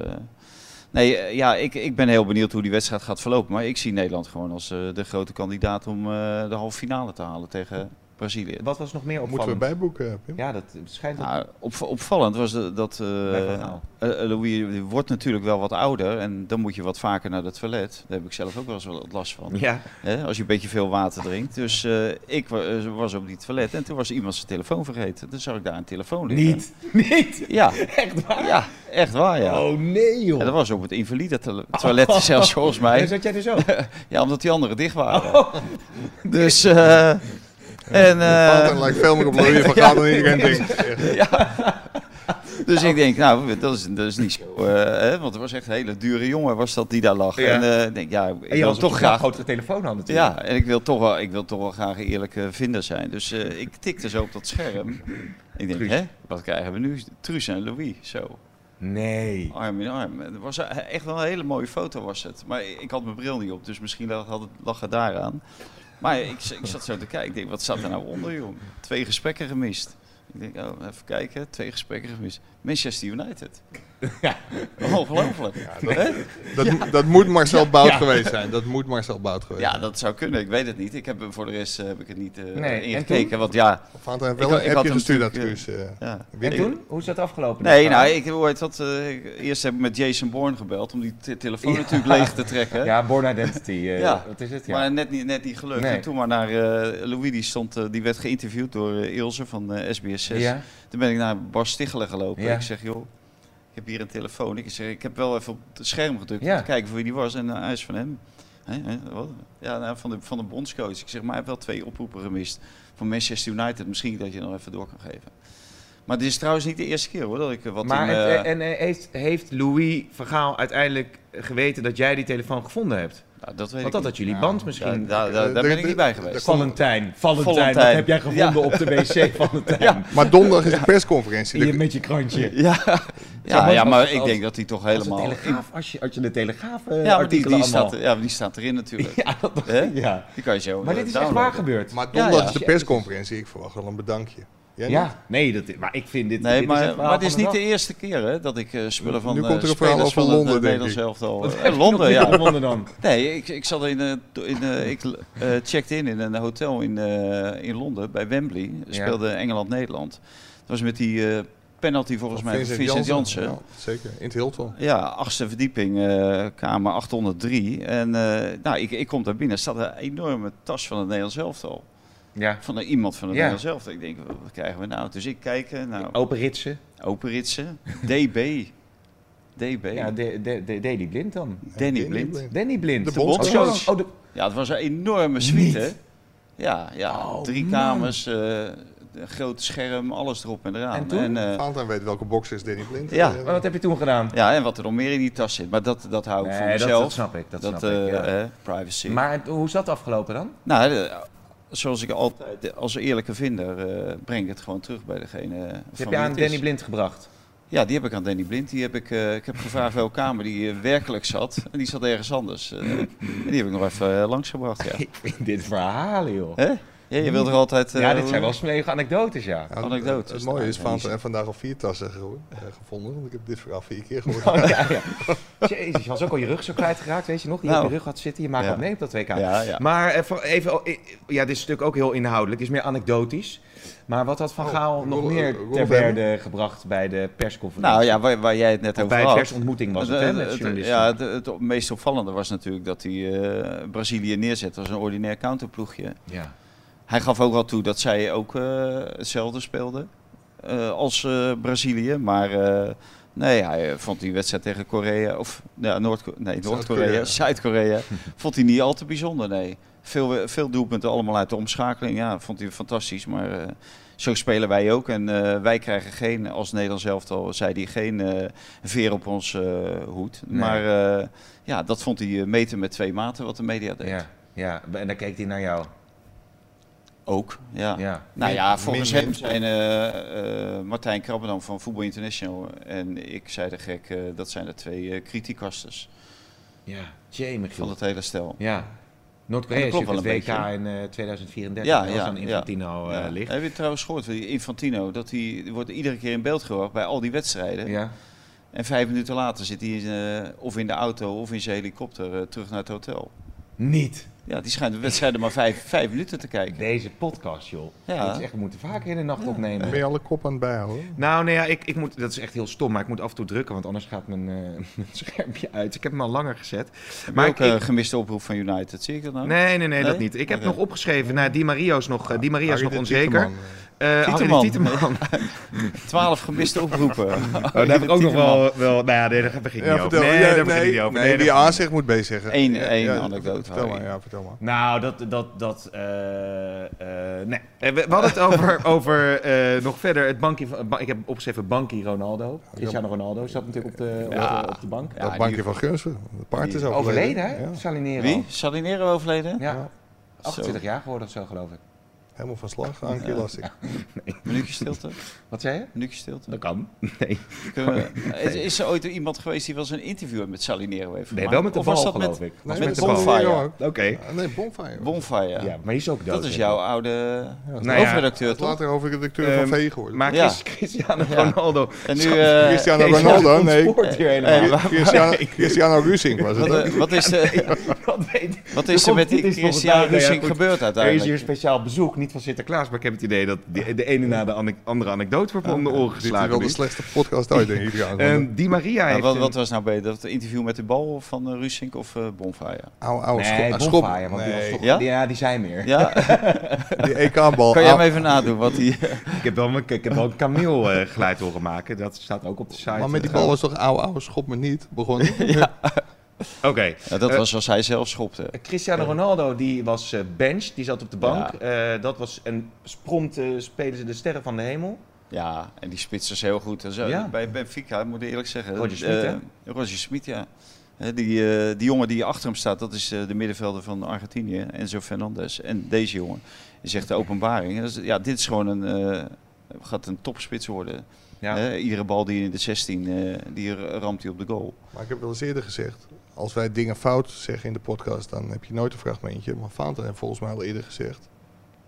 [SPEAKER 7] nee, eh, ja, ik, ik ben heel benieuwd hoe die wedstrijd gaat verlopen. Maar ik zie Nederland gewoon als eh, de grote kandidaat om eh, de halve finale te halen tegen Brazilië.
[SPEAKER 5] Wat was nog meer
[SPEAKER 6] Moeten we
[SPEAKER 5] opvallend?
[SPEAKER 6] bijboeken, Pim?
[SPEAKER 5] Ja, dat schijnt dat-
[SPEAKER 7] Nou, op, opvallend was de- dat eh,
[SPEAKER 5] Bij Van Gaal.
[SPEAKER 7] eh, eh, Louis die wordt natuurlijk wel wat ouder en dan moet je wat vaker naar het toilet. Daar heb ik zelf ook wel eens wat last van.
[SPEAKER 5] Ja,
[SPEAKER 7] Hè, als je een beetje veel water drinkt. Dus eh, ik wa- eh, was op die toilet en toen was iemand zijn telefoon vergeten. Toen zag ik daar een telefoon liggen.
[SPEAKER 5] niet. Niet.
[SPEAKER 7] Ja,
[SPEAKER 5] Echt waar?
[SPEAKER 7] ja echt waar ja.
[SPEAKER 5] Oh nee joh.
[SPEAKER 7] En dat was op het invalide tole- toilet zelfs volgens mij.
[SPEAKER 5] Dus dat jij dus ook.
[SPEAKER 7] Ja, omdat die anderen dicht waren.
[SPEAKER 5] Oh.
[SPEAKER 7] Dus... eh, en, eh,
[SPEAKER 6] Pater lijkt veel meer op Louis van Gaal dan iedereen denkt.
[SPEAKER 7] Dus ik denk, nou, dat is, dat is niet zo. eh, hè, want het was echt een hele dure jongen, was dat die daar lag.
[SPEAKER 5] Ja.
[SPEAKER 7] En eh, ik denk, ja, ik
[SPEAKER 5] En je
[SPEAKER 7] wil
[SPEAKER 5] had
[SPEAKER 7] toch graag.
[SPEAKER 5] grotere telefoon aan natuurlijk.
[SPEAKER 7] Ja, en ik wil toch wel, ik wil toch wel graag een eerlijke vinder zijn. Dus eh, ik tikte zo op dat scherm. Ik denk,
[SPEAKER 5] Truus.
[SPEAKER 7] hè, wat krijgen we nu? Truus en Louis, zo,
[SPEAKER 5] Nee.
[SPEAKER 7] arm in arm. Het was echt wel een hele mooie foto was het. Maar ik had mijn bril niet op, dus misschien lag, had het, lag het daaraan. Maar ik, z- ik zat zo te kijken, ik denk, wat staat er nou onder, joh? Twee gesprekken gemist. Ik denk, oh, even kijken, twee gesprekken gemist. Manchester United.
[SPEAKER 5] Ja.
[SPEAKER 7] Ongelooflijk. Hè?
[SPEAKER 6] Dat, dat moet Marcel Bout geweest zijn. Dat moet Marcel Bout geweest
[SPEAKER 7] Ja, dat zou kunnen. Ik weet het niet. Ik heb hem voor de rest eh, heb ik het niet eh
[SPEAKER 5] Nee, en
[SPEAKER 7] ingekeken.
[SPEAKER 5] toen?
[SPEAKER 7] Want ja,
[SPEAKER 6] zijn. Fanta heeft
[SPEAKER 7] Ik-
[SPEAKER 6] wel
[SPEAKER 7] ik
[SPEAKER 6] een
[SPEAKER 7] had
[SPEAKER 6] appje
[SPEAKER 7] hem
[SPEAKER 6] gestuurd dat
[SPEAKER 7] natuurlijk,
[SPEAKER 6] Truus. eh,
[SPEAKER 7] ja.
[SPEAKER 6] weer
[SPEAKER 5] En toen? Hoe is dat afgelopen?
[SPEAKER 7] Nee,
[SPEAKER 5] Dat
[SPEAKER 7] nou,
[SPEAKER 5] verhaal?
[SPEAKER 7] ik hoe heet dat. eh, eerst heb ik met Jason Bourne gebeld om die te- telefoon
[SPEAKER 5] Ja.
[SPEAKER 7] natuurlijk leeg te trekken.
[SPEAKER 5] Ja, Born Identity. eh,
[SPEAKER 7] Ja.
[SPEAKER 5] Wat is het? Ja.
[SPEAKER 7] Maar net niet, net niet gelukt.
[SPEAKER 5] Nee.
[SPEAKER 7] En toen maar naar eh Louis, die, stond, eh, die werd geïnterviewd door eh, Ilse van SBS6.
[SPEAKER 5] ja.
[SPEAKER 7] Toen ben ik naar Bas Stichelen gelopen.
[SPEAKER 5] Ja.
[SPEAKER 7] Ik zeg, joh, ik heb hier een telefoon. Ik zeg, ik heb wel even op het scherm gedrukt
[SPEAKER 5] Ja.
[SPEAKER 7] om te kijken voor wie die was. En eh, hij is van hem. Hè, hè, wat? Ja, nou, van, de, van de bondscoach. Ik zeg, maar hij heeft wel twee oproepen gemist. Van Manchester United, misschien dat je nog even door kan geven. Maar dit is trouwens niet de eerste keer hoor, dat ik eh, wat
[SPEAKER 5] maar
[SPEAKER 7] in...
[SPEAKER 5] het-
[SPEAKER 7] eh,
[SPEAKER 5] en eh, heeft, heeft Louis Vergaal uiteindelijk geweten dat jij die telefoon gevonden hebt?
[SPEAKER 7] nou, dat weet
[SPEAKER 5] Want
[SPEAKER 7] ik
[SPEAKER 5] dat had
[SPEAKER 7] niet. Nou,
[SPEAKER 5] jullie
[SPEAKER 7] Ja,
[SPEAKER 5] band misschien.
[SPEAKER 7] Daar, daar, daar
[SPEAKER 6] Eh,
[SPEAKER 7] ben
[SPEAKER 6] er-
[SPEAKER 7] ik niet bij
[SPEAKER 6] er-
[SPEAKER 7] geweest.
[SPEAKER 5] Valentijn, Valentijn, wat
[SPEAKER 7] Valentijn.
[SPEAKER 5] heb jij gevonden op de wc, Valentijn?
[SPEAKER 6] Maar donderdag is de persconferentie.
[SPEAKER 5] Hier
[SPEAKER 6] De-
[SPEAKER 5] met je krantje.
[SPEAKER 7] Ja, ja,
[SPEAKER 5] maar
[SPEAKER 7] ja,
[SPEAKER 5] als-
[SPEAKER 7] maar
[SPEAKER 5] als-
[SPEAKER 7] ik denk dat hij toch
[SPEAKER 5] Als, de
[SPEAKER 7] helemaal...
[SPEAKER 5] telegraaf, als, je, als je de Telegraaf eh,
[SPEAKER 7] ja, maar die,
[SPEAKER 5] artikelen
[SPEAKER 7] die, staat,
[SPEAKER 5] allemaal...
[SPEAKER 7] ja, maar die staat erin natuurlijk.
[SPEAKER 5] ja, dat dacht
[SPEAKER 7] Hè?
[SPEAKER 5] ik, ja.
[SPEAKER 7] Die kan je zo
[SPEAKER 5] Maar
[SPEAKER 7] eh,
[SPEAKER 5] dit is echt
[SPEAKER 7] downloaden.
[SPEAKER 5] waar gebeurd.
[SPEAKER 6] Maar donderdag
[SPEAKER 7] ja.
[SPEAKER 6] is de persconferentie. Ik verwacht wel een bedankje. Jij niet?
[SPEAKER 5] Ja, nee, dat, maar ik vind dit... dit
[SPEAKER 7] Nee,
[SPEAKER 5] is
[SPEAKER 7] maar,
[SPEAKER 5] echt
[SPEAKER 7] maar het is niet
[SPEAKER 5] verhaal
[SPEAKER 7] de
[SPEAKER 5] van
[SPEAKER 7] eerste keer hè, dat ik eh, spullen van
[SPEAKER 6] Nu
[SPEAKER 7] eh,
[SPEAKER 6] komt er een verhaal
[SPEAKER 7] spelers
[SPEAKER 6] over
[SPEAKER 7] van het, eh,
[SPEAKER 6] Londen, denk
[SPEAKER 7] Nederlands
[SPEAKER 6] ik.
[SPEAKER 7] elftal.
[SPEAKER 5] dag.
[SPEAKER 7] eh,
[SPEAKER 5] Wat heb je
[SPEAKER 7] Londen,
[SPEAKER 5] nog niet
[SPEAKER 7] ja.
[SPEAKER 5] gevonden dan?
[SPEAKER 7] Nee, ik, ik zat in, eh, in eh, ik eh, checkte in in een hotel in, eh, in Londen bij Wembley. Speelde Engeland-Nederland. Dat was met die eh, penalty volgens
[SPEAKER 6] Van
[SPEAKER 7] mij van Vincent Janssen.
[SPEAKER 6] Ja, zeker, in het Hilton.
[SPEAKER 7] Ja, achtste verdieping, eh, kamer 803. En eh, nou, ik, ik kom daar binnen, er staat een enorme tas van het Nederlands elftal.
[SPEAKER 5] Ja,
[SPEAKER 7] Van een- iemand van het
[SPEAKER 5] Ja.
[SPEAKER 7] Nederlands elftal. Ik denk, wat krijgen we nou? Dus ik kijk, eh, nou,
[SPEAKER 5] open ritsen.
[SPEAKER 7] Openritsen, DB. DB.
[SPEAKER 5] Ja, de- de- de- Daley Blind dan.
[SPEAKER 7] Danny
[SPEAKER 6] Danny
[SPEAKER 7] Blind.
[SPEAKER 6] Blind.
[SPEAKER 5] Danny Blind.
[SPEAKER 6] De
[SPEAKER 5] Oh,
[SPEAKER 6] bondscoach.
[SPEAKER 5] zo- Oh, de-
[SPEAKER 7] Ja, het was een enorme suite, hè?
[SPEAKER 5] Niet.
[SPEAKER 7] Ja, ja.
[SPEAKER 5] Oh,
[SPEAKER 7] drie
[SPEAKER 5] man.
[SPEAKER 7] kamers, eh, een groot scherm, alles erop en eraan.
[SPEAKER 5] En toen?
[SPEAKER 7] eh,
[SPEAKER 6] Valentijn weet welke boxer is Danny Blind. eh,
[SPEAKER 7] Ja.
[SPEAKER 5] maar wat oh, heb je toen gedaan?
[SPEAKER 7] ja, en wat er nog meer in die tas zit. Maar dat, dat hou ik voor
[SPEAKER 5] Nee, dat,
[SPEAKER 7] mezelf.
[SPEAKER 5] dat snap ik. Dat,
[SPEAKER 7] Dat,
[SPEAKER 5] snap ik,
[SPEAKER 7] eh,
[SPEAKER 5] ja.
[SPEAKER 7] eh, privacy.
[SPEAKER 5] Maar het- hoe is dat afgelopen dan?
[SPEAKER 7] Nou, eh, zoals ik altijd, eh, als eerlijke vinder, eh, breng ik het gewoon terug bij degene. eh, van
[SPEAKER 5] Dat heb
[SPEAKER 7] wie
[SPEAKER 5] je aan
[SPEAKER 7] het is.
[SPEAKER 5] Danny Blind gebracht.
[SPEAKER 7] Ja, die heb ik aan Danny Blind. Die heb ik, eh, ik heb gevraagd welke kamer die eh, werkelijk zat. En die zat ergens anders. Eh, en die heb ik nog even eh, langsgebracht, ja.
[SPEAKER 5] Ik vind dit verhalen, joh.
[SPEAKER 7] Hè? Ja, je wilt er altijd... eh,
[SPEAKER 5] ja, dit
[SPEAKER 7] hoe-
[SPEAKER 5] zijn wel smerige anekdotes, ja.
[SPEAKER 6] Ja,
[SPEAKER 7] Anekdotes.
[SPEAKER 6] Het mooie eh, is,
[SPEAKER 7] Ja,
[SPEAKER 6] Valentijn
[SPEAKER 7] die-
[SPEAKER 6] heeft vandaag al vier tassen geho- eh, gevonden. Want ik heb dit verhaal vier keer gehoord.
[SPEAKER 5] Oh, ja, ja. Jezus, je was ook al je rug zo kwijtgeraakt, weet je nog? Die
[SPEAKER 7] Nou.
[SPEAKER 5] op je rug had zitten, je maakt
[SPEAKER 7] Ja.
[SPEAKER 5] wat mee op dat WK.
[SPEAKER 7] Ja, ja.
[SPEAKER 5] Maar eh, van- even, al- eh, ja, dit is natuurlijk ook heel inhoudelijk, is meer anekdotisch. Maar wat had Van
[SPEAKER 6] Oh,
[SPEAKER 5] Gaal
[SPEAKER 6] Roel-
[SPEAKER 5] nog meer
[SPEAKER 6] Roel
[SPEAKER 5] ter
[SPEAKER 6] Bemmen?
[SPEAKER 5] berde gebracht bij de persconferentie?
[SPEAKER 7] Nou ja, waar, waar jij het
[SPEAKER 5] Of
[SPEAKER 7] net over
[SPEAKER 5] bij het
[SPEAKER 7] had.
[SPEAKER 5] persontmoeting was het, hè, met journalisten.
[SPEAKER 7] ja, het, het op- meest opvallende was natuurlijk dat hij eh, Brazilië neerzet als een ordinair counterploegje.
[SPEAKER 5] Ja.
[SPEAKER 7] Hij gaf ook wel toe dat zij ook eh, hetzelfde speelden eh, als eh, Brazilië. Maar eh, nee, hij eh, vond die wedstrijd tegen Korea, of ja, Noord, nee, Noord-Korea,
[SPEAKER 6] Zuid-Korea.
[SPEAKER 7] Zuid-Korea, vond hij niet al te bijzonder, nee. Veel, eh, veel doelpunten allemaal uit de omschakeling. Ja, vond hij fantastisch. Maar eh, zo spelen wij ook. En eh, wij krijgen geen, als Nederlands elftal, zei hij, geen eh, veer op ons eh, hoed.
[SPEAKER 5] Nee.
[SPEAKER 7] Maar eh, ja, dat vond hij eh, meten met twee maten wat de media deed.
[SPEAKER 5] Ja, ja, en dan keek hij naar jou.
[SPEAKER 7] Ook, ja.
[SPEAKER 5] Ja.
[SPEAKER 7] Nou ja, volgens
[SPEAKER 6] min-
[SPEAKER 7] hem zijn eh, eh, Martijn Krabbendam van Voetbal International en ik zei de gek, eh, dat zijn de twee eh criticasters
[SPEAKER 5] Ja, jee,
[SPEAKER 7] van
[SPEAKER 5] Michiel.
[SPEAKER 7] het hele stel.
[SPEAKER 5] Ja. Noord-Korea
[SPEAKER 7] Ja, dat
[SPEAKER 5] zit
[SPEAKER 7] klopt
[SPEAKER 5] het
[SPEAKER 7] wel
[SPEAKER 5] WK
[SPEAKER 7] een
[SPEAKER 5] in eh 2034,
[SPEAKER 7] Ja,
[SPEAKER 5] ja, als
[SPEAKER 7] ja,
[SPEAKER 5] aan
[SPEAKER 7] ja.
[SPEAKER 5] Infantino eh,
[SPEAKER 7] Ja.
[SPEAKER 5] ligt.
[SPEAKER 7] Heb je trouwens gehoord van die Infantino, dat hij die wordt iedere keer in beeld gebracht bij al die wedstrijden.
[SPEAKER 5] Ja.
[SPEAKER 7] En vijf minuten later zit hij in, eh, of in de auto of in zijn helikopter eh, terug naar het hotel.
[SPEAKER 5] Niet.
[SPEAKER 7] Ja, die schijnt de wedstrijden maar vijf, vijf minuten te kijken.
[SPEAKER 5] Deze podcast, joh.
[SPEAKER 7] Ja.
[SPEAKER 5] Dat is echt, we moeten vaker in de nacht opnemen.
[SPEAKER 6] Ben je alle kop aan het bijhouden?
[SPEAKER 5] Nou, nee, ja, ik, ik moet, dat is echt heel stom, maar ik moet af en toe drukken, want anders gaat mijn, eh, mijn schermpje uit. Ik heb hem al langer gezet.
[SPEAKER 7] Maar
[SPEAKER 5] Maar
[SPEAKER 7] ook
[SPEAKER 5] ik,
[SPEAKER 7] eh,
[SPEAKER 5] ik-
[SPEAKER 7] gemiste oproep van United, zie ik dat nou?
[SPEAKER 5] nee, nee, nee, dat
[SPEAKER 7] Nee?
[SPEAKER 5] niet. Ik heb
[SPEAKER 7] Oké.
[SPEAKER 5] nog opgeschreven, nou, Di Maria is nog, eh, Di Maria is
[SPEAKER 6] Harry
[SPEAKER 5] nog
[SPEAKER 6] de
[SPEAKER 5] onzeker.
[SPEAKER 6] Tieteman, eh,
[SPEAKER 5] Eh Harry de
[SPEAKER 7] Tieteman.
[SPEAKER 5] Tieteman.
[SPEAKER 7] Twaalf gemiste oproepen. oh,
[SPEAKER 5] Oh, daar heb ik ook nog wel, wel, nou ja, nee, daar begin ik
[SPEAKER 6] Ja,
[SPEAKER 5] niet
[SPEAKER 6] vertel.
[SPEAKER 5] over. Nee,
[SPEAKER 6] Ja,
[SPEAKER 5] daar begin ik
[SPEAKER 6] nee,
[SPEAKER 5] niet over.
[SPEAKER 6] Nee,
[SPEAKER 5] Nee,
[SPEAKER 6] die
[SPEAKER 5] daar-
[SPEAKER 6] aanzicht moet beziggen.
[SPEAKER 7] Eén-
[SPEAKER 6] Ja,
[SPEAKER 7] één
[SPEAKER 6] ja,
[SPEAKER 7] anekdote,
[SPEAKER 6] Vertel maar,
[SPEAKER 7] Harry.
[SPEAKER 6] ja, vertel maar.
[SPEAKER 5] Nou, dat. dat, dat eh, eh, nee. Eh, We, we hadden het over, over eh, nog verder. Het bankje van, ba- ik heb opgeschreven Bankie Ronaldo. Cristiano Ronaldo zat natuurlijk op de, op, de, op de bank.
[SPEAKER 7] Ja,
[SPEAKER 6] dat bankje
[SPEAKER 7] die-
[SPEAKER 6] van Geursen, het paard is
[SPEAKER 7] die-
[SPEAKER 5] Overleden, hè?
[SPEAKER 6] Ja,
[SPEAKER 5] Salinero.
[SPEAKER 7] Wie? Salinero overleden?
[SPEAKER 5] Ja.
[SPEAKER 6] Ja.
[SPEAKER 5] 28 jaar geworden of zo, geloof ik.
[SPEAKER 6] helemaal van slag, aan keer lastig.
[SPEAKER 7] Minuutje stilte.
[SPEAKER 5] Wat zei je?
[SPEAKER 7] Minuutje stilte.
[SPEAKER 5] Dat kan. Nee.
[SPEAKER 7] Kunnen we- is, is er ooit iemand geweest die wel eens een interview met Salinero heeft
[SPEAKER 5] Nee,
[SPEAKER 7] gemaakt?
[SPEAKER 5] wel met de
[SPEAKER 7] Of
[SPEAKER 5] bal,
[SPEAKER 7] was dat
[SPEAKER 5] geloof
[SPEAKER 7] met
[SPEAKER 5] ik.
[SPEAKER 6] Nee,
[SPEAKER 5] Was
[SPEAKER 7] met
[SPEAKER 5] met de
[SPEAKER 7] de
[SPEAKER 5] bal.
[SPEAKER 7] bal.
[SPEAKER 6] Bonfire
[SPEAKER 7] Bonfire.
[SPEAKER 6] ook.
[SPEAKER 5] Oké.
[SPEAKER 6] Ah, Nee, Bonfire.
[SPEAKER 7] Bonfire?
[SPEAKER 5] Ja. maar die is ook dood.
[SPEAKER 7] Dat is
[SPEAKER 5] hè?
[SPEAKER 7] jouw oude
[SPEAKER 5] Nou ja,
[SPEAKER 7] hoofdredacteur, toch?
[SPEAKER 6] Later over de directeur van
[SPEAKER 5] Ehm,
[SPEAKER 6] Vee geworden.
[SPEAKER 5] Maar
[SPEAKER 7] Ja.
[SPEAKER 5] Chris- Cristiano Ronaldo.
[SPEAKER 7] En nu, eh,
[SPEAKER 6] Cristiano
[SPEAKER 5] Deze
[SPEAKER 6] Ronaldo, nee.
[SPEAKER 5] ontspoort hier helemaal.
[SPEAKER 7] Eh,
[SPEAKER 6] Cristiano, Cristiano Rusing was het.
[SPEAKER 7] wat, eh, wat is, eh,
[SPEAKER 5] Dat weet ik.
[SPEAKER 7] wat is er
[SPEAKER 5] Komt-
[SPEAKER 7] met
[SPEAKER 5] dit
[SPEAKER 7] die
[SPEAKER 5] is volgens
[SPEAKER 7] Christian
[SPEAKER 5] mij- nou ja,
[SPEAKER 7] Rusing
[SPEAKER 5] goed.
[SPEAKER 7] gebeurd
[SPEAKER 5] Er is hier
[SPEAKER 7] uiteindelijk? Nou,
[SPEAKER 5] een speciaal bezoek, niet van Sinterklaas, maar ik heb het idee dat de, de ene na de ane- andere anekdote wordt me om de oren
[SPEAKER 6] Dit is
[SPEAKER 5] geslagen.
[SPEAKER 6] wel de
[SPEAKER 5] nu.
[SPEAKER 6] slechtste podcast ooit, denk ik. trouwens. Want
[SPEAKER 5] Ehm, Di Maria
[SPEAKER 7] Nou,
[SPEAKER 5] heeft...
[SPEAKER 7] wat,
[SPEAKER 5] een-
[SPEAKER 7] wat was nou beter, dat interview met de bal van eh, Rusink of eh, Bonfire?
[SPEAKER 6] een Oude, oude
[SPEAKER 5] Nee,
[SPEAKER 6] schop-
[SPEAKER 5] Bonfire,
[SPEAKER 6] schop-
[SPEAKER 5] want die was
[SPEAKER 6] nee,
[SPEAKER 5] toch-
[SPEAKER 7] Ja?
[SPEAKER 5] ja, Ah. die zijn meer.
[SPEAKER 7] Ja,
[SPEAKER 6] die E EK-bal.
[SPEAKER 7] kan jij hem even nadoen? Wat die,
[SPEAKER 5] Ik heb wel, mijn- ik heb wel een kameel eh, geluid horen maken. Dat staat ook op de site.
[SPEAKER 6] Maar met die
[SPEAKER 5] eh,
[SPEAKER 6] bal was toch oude, oude schop me niet begonnen?
[SPEAKER 5] Oké.
[SPEAKER 7] Ja, dat
[SPEAKER 5] Eh,
[SPEAKER 7] was als hij zelf schopte.
[SPEAKER 5] Cristiano Ronaldo die was eh bench, die zat op de bank.
[SPEAKER 7] Ja.
[SPEAKER 5] Eh, dat was en prompt eh, spelen ze de sterren van de hemel.
[SPEAKER 7] Ja, en die spits is heel goed. En zo.
[SPEAKER 5] Ja.
[SPEAKER 7] Bij Benfica, moet ik eerlijk zeggen.
[SPEAKER 5] Roger Schmid, hè?
[SPEAKER 7] Eh, Roger Smit, ja. Hè, die, eh, die jongen die achter hem staat, dat is eh, de middenvelder van Argentinië, Enzo Fernandez. En deze jongen is echt de openbaring. Dus, ja, dit is gewoon een, eh, gaat een topspits worden.
[SPEAKER 5] Ja.
[SPEAKER 7] Hè, iedere bal die in de 16, eh, die ramt hij op de goal.
[SPEAKER 6] Maar ik heb wel eens eerder gezegd, als wij dingen fout zeggen in de podcast, dan heb je nooit een fragmentje. Maar Fountain heeft volgens mij al eerder gezegd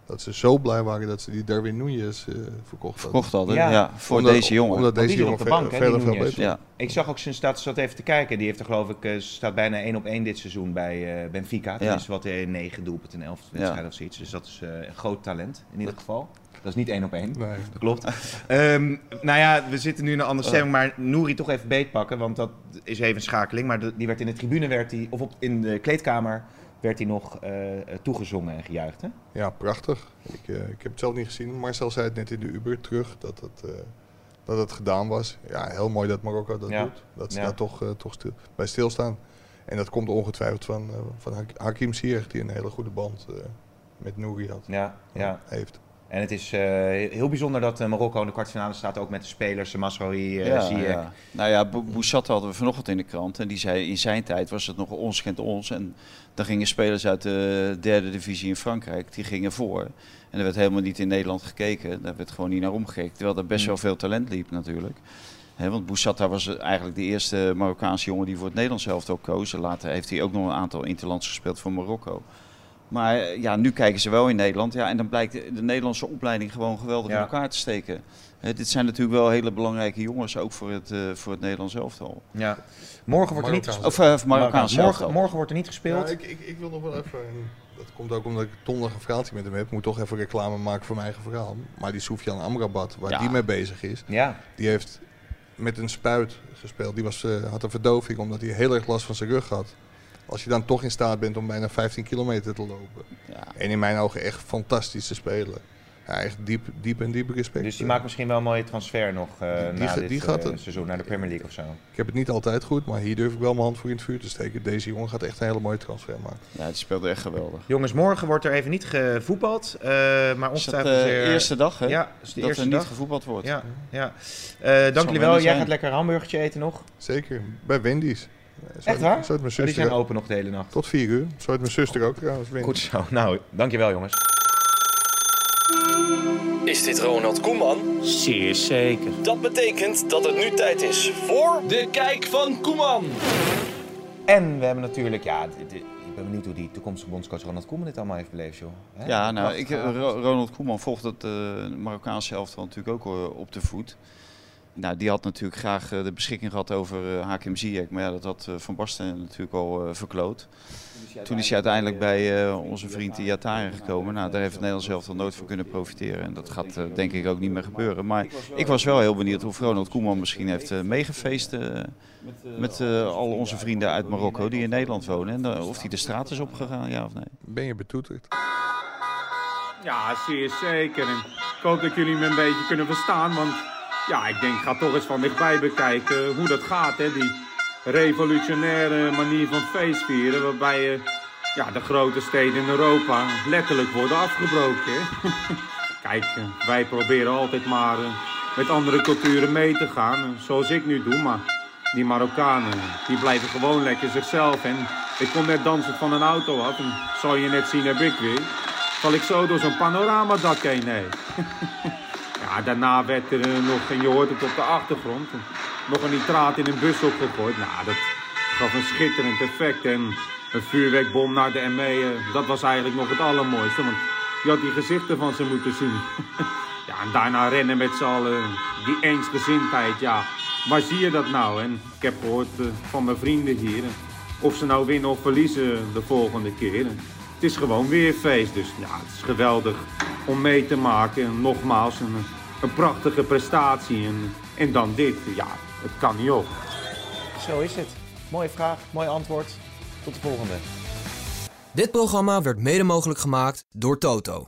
[SPEAKER 6] dat ze zo blij waren dat ze die Darwin Nunez eh, verkocht hadden.
[SPEAKER 7] Verkocht hadden,
[SPEAKER 5] Ja.
[SPEAKER 7] ja. voor
[SPEAKER 6] Omdat-
[SPEAKER 7] deze jongen.
[SPEAKER 6] Omdat
[SPEAKER 5] die
[SPEAKER 6] deze
[SPEAKER 5] zit op
[SPEAKER 6] jongen
[SPEAKER 5] de
[SPEAKER 6] ver-
[SPEAKER 5] bank, hè,
[SPEAKER 6] verder
[SPEAKER 5] die
[SPEAKER 6] veel
[SPEAKER 5] Nunez.
[SPEAKER 6] beter
[SPEAKER 7] ja.
[SPEAKER 5] Ik zag ook zijn status zat even te kijken. Die heeft er geloof ik, eh, staat bijna één op één dit seizoen bij eh, Benfica. Dat is wat eh, negen doelpunten in elf wedstrijden of zoiets. Dus dat is eh, een groot talent in ieder geval. Dat is niet één op één.
[SPEAKER 6] Nee.
[SPEAKER 5] Dat klopt. Ehm, nou ja, we zitten nu in een andere stemming, maar Nouri toch even beetpakken, want dat is even een schakeling. Maar de- die werd in de tribune, werd die, of op, in de kleedkamer, werd hij nog eh, eh, toegezongen en gejuicht. Hè?
[SPEAKER 6] Ja, prachtig. Ik, eh, ik heb het zelf niet gezien. Marcel zei het net in de Uber terug dat het, eh, dat het gedaan was. Ja, heel mooi dat Marokko dat
[SPEAKER 5] Ja.
[SPEAKER 6] doet. Dat ze
[SPEAKER 5] Ja.
[SPEAKER 6] daar toch, eh, toch stil, bij stilstaan. En dat komt ongetwijfeld van, eh, van Hak- Hakim Ziyech, die een hele goede band eh, met Nouri had.
[SPEAKER 5] Ja, ja.
[SPEAKER 6] Heeft.
[SPEAKER 5] En het is eh, heel bijzonder dat eh, Marokko in de kwartfinale staat, ook met de spelers, eh, Masraoui, eh
[SPEAKER 7] Ja,
[SPEAKER 5] Ziyech.
[SPEAKER 7] ja. Nou ja, Bo- Boussat hadden we vanochtend in de krant. En die zei, in zijn tijd was het nog ons kent ons. En dan gingen spelers uit de derde divisie in Frankrijk, die gingen voor. En er werd helemaal niet in Nederland gekeken. Daar werd gewoon niet naar omgekeken. Terwijl er best wel veel talent liep natuurlijk. Hè, want Boussata was eigenlijk de eerste Marokkaanse jongen die voor het Nederlands elftal koos. En Later heeft hij ook nog een aantal interlands gespeeld voor Marokko. Maar eh, ja, nu kijken ze wel in Nederland. Ja, en dan blijkt de de Nederlandse opleiding gewoon geweldig
[SPEAKER 5] Ja.
[SPEAKER 7] in elkaar te steken. Hè, dit zijn natuurlijk wel hele belangrijke jongens, ook voor het, eh, voor het Nederlands elftal.
[SPEAKER 5] Ja. Morgen wordt er niet
[SPEAKER 6] Marokkaans.
[SPEAKER 5] gespeeld.
[SPEAKER 7] Of eh, voor Marokkaans elftal.
[SPEAKER 5] Morgen, morgen wordt er niet
[SPEAKER 6] Ja,
[SPEAKER 5] gespeeld.
[SPEAKER 6] ik, ik, ik wil nog wel even... en Dat komt ook omdat ik donderdag een verhaaltje met hem heb. Ik moet toch even reclame maken voor mijn eigen verhaal. Maar die Soufian Amrabat, waar
[SPEAKER 7] Ja.
[SPEAKER 6] die mee bezig is...
[SPEAKER 5] Ja,
[SPEAKER 6] Die heeft met een spuit gespeeld. Die was, eh, had een verdoving omdat hij heel erg last van zijn rug had. Als je dan toch in staat bent om bijna 15 kilometer te lopen.
[SPEAKER 7] Ja.
[SPEAKER 6] En in mijn ogen echt fantastisch te spelen. Ja, echt diep, diep en diep respect.
[SPEAKER 5] dus die maakt misschien wel een mooie transfer nog eh,
[SPEAKER 6] eh, die
[SPEAKER 5] na
[SPEAKER 6] ga-
[SPEAKER 5] dit
[SPEAKER 6] die gaat
[SPEAKER 5] eh,
[SPEAKER 6] het.
[SPEAKER 5] seizoen, naar de Premier League of zo.
[SPEAKER 6] Ik heb het niet altijd goed, maar hier durf ik wel mijn hand voor in het vuur te steken. Deze jongen gaat echt een hele mooie transfer maken.
[SPEAKER 7] Ja, die speelde echt geweldig.
[SPEAKER 5] Jongens, morgen wordt er even niet gevoetbald, eh, maar
[SPEAKER 7] Is dat
[SPEAKER 5] ongetwijfeld
[SPEAKER 7] de
[SPEAKER 5] weer...
[SPEAKER 7] eerste dag, hè?
[SPEAKER 5] eh, Ja, dat is de
[SPEAKER 7] dat
[SPEAKER 5] eerste
[SPEAKER 7] er niet
[SPEAKER 5] dag.
[SPEAKER 7] gevoetbald wordt.
[SPEAKER 5] Ja, ja. Eh dank jullie wel.
[SPEAKER 7] maar
[SPEAKER 5] Jij
[SPEAKER 7] zijn.
[SPEAKER 5] gaat lekker een hamburgertje eten nog.
[SPEAKER 6] Zeker, bij Wendy's. Eh, Zo
[SPEAKER 5] Echt waar? Oh,
[SPEAKER 6] Zo heeft mijn
[SPEAKER 5] die
[SPEAKER 6] zuster
[SPEAKER 5] zijn
[SPEAKER 6] ook.
[SPEAKER 5] open nog de hele nacht.
[SPEAKER 6] Tot 4 uur. Zo heeft mijn zuster ook trouwens. Wendy's.
[SPEAKER 5] Goed zo. Nou, dankjewel jongens.
[SPEAKER 8] Is dit Ronald Koeman? Zeer zeker. Dat betekent dat het nu tijd is voor... De Kijk van Koeman.
[SPEAKER 5] En we hebben natuurlijk... Ja, d- d- ik ben benieuwd hoe die toekomstige bondscoach Ronald Koeman dit allemaal heeft beleefd, joh. Hè?
[SPEAKER 7] Ja, nou, ik,
[SPEAKER 5] Prachtig.
[SPEAKER 7] Ro- Ronald Koeman volgt het eh, Marokkaanse elftal natuurlijk ook eh, op de voet. Nou, die had natuurlijk graag eh, de beschikking gehad over eh, Hakim Ziyech. Maar ja, dat had eh, Van Basten natuurlijk al eh, verkloot. Toen is hij uiteindelijk bij eh, onze vriend Iataren gekomen. Nou, daar heeft het Nederlands elftal nooit van kunnen profiteren. En dat gaat eh, denk ik ook niet meer gebeuren. Maar ik was wel heel benieuwd of Ronald Koeman misschien heeft eh, meegefeest... eh, met eh, al onze vrienden uit Marokko die in Nederland wonen. En eh, of die de straat is opgegaan, ja of nee.
[SPEAKER 6] Ben je betoeterd?
[SPEAKER 9] Ja, zeer zeker. En ik hoop dat jullie me een beetje kunnen verstaan, want ja, ik denk, ik ga toch eens van dichtbij bekijken hoe dat gaat, hè. Die revolutionaire manier van feestvieren, waarbij eh, ja, de grote steden in Europa letterlijk worden afgebroken, hè. Kijk, eh, wij proberen altijd maar eh, met andere culturen mee te gaan, eh, zoals ik nu doe, maar die Marokkanen, die blijven gewoon lekker zichzelf. En ik kom net dansend van een auto af en zal je net zien heb ik weer. Val ik zo door zo'n panoramadak heen? Nee. ja, daarna werd er eh, nog, en je hoort het op de achtergrond, eh, nog een nitraat in een bus opgegooid. Nou, dat gaf een schitterend effect. En een vuurwerkbom naar de ME, eh, dat was eigenlijk nog het allermooiste. Want je had die gezichten van ze moeten zien. ja, en daarna rennen met z'n allen, die eensgezindheid, ja. Waar zie je dat nou? En ik heb gehoord eh, van mijn vrienden hier, eh, of ze nou winnen of verliezen de volgende keer. eh, het is gewoon weer feest, dus ja, het is geweldig om mee te maken. En nogmaals, een, een prachtige prestatie. En, en dan dit, ja, het kan niet op.
[SPEAKER 5] Zo is het. Mooie vraag, mooi antwoord. Tot de volgende.
[SPEAKER 1] Dit programma werd mede mogelijk gemaakt door Toto.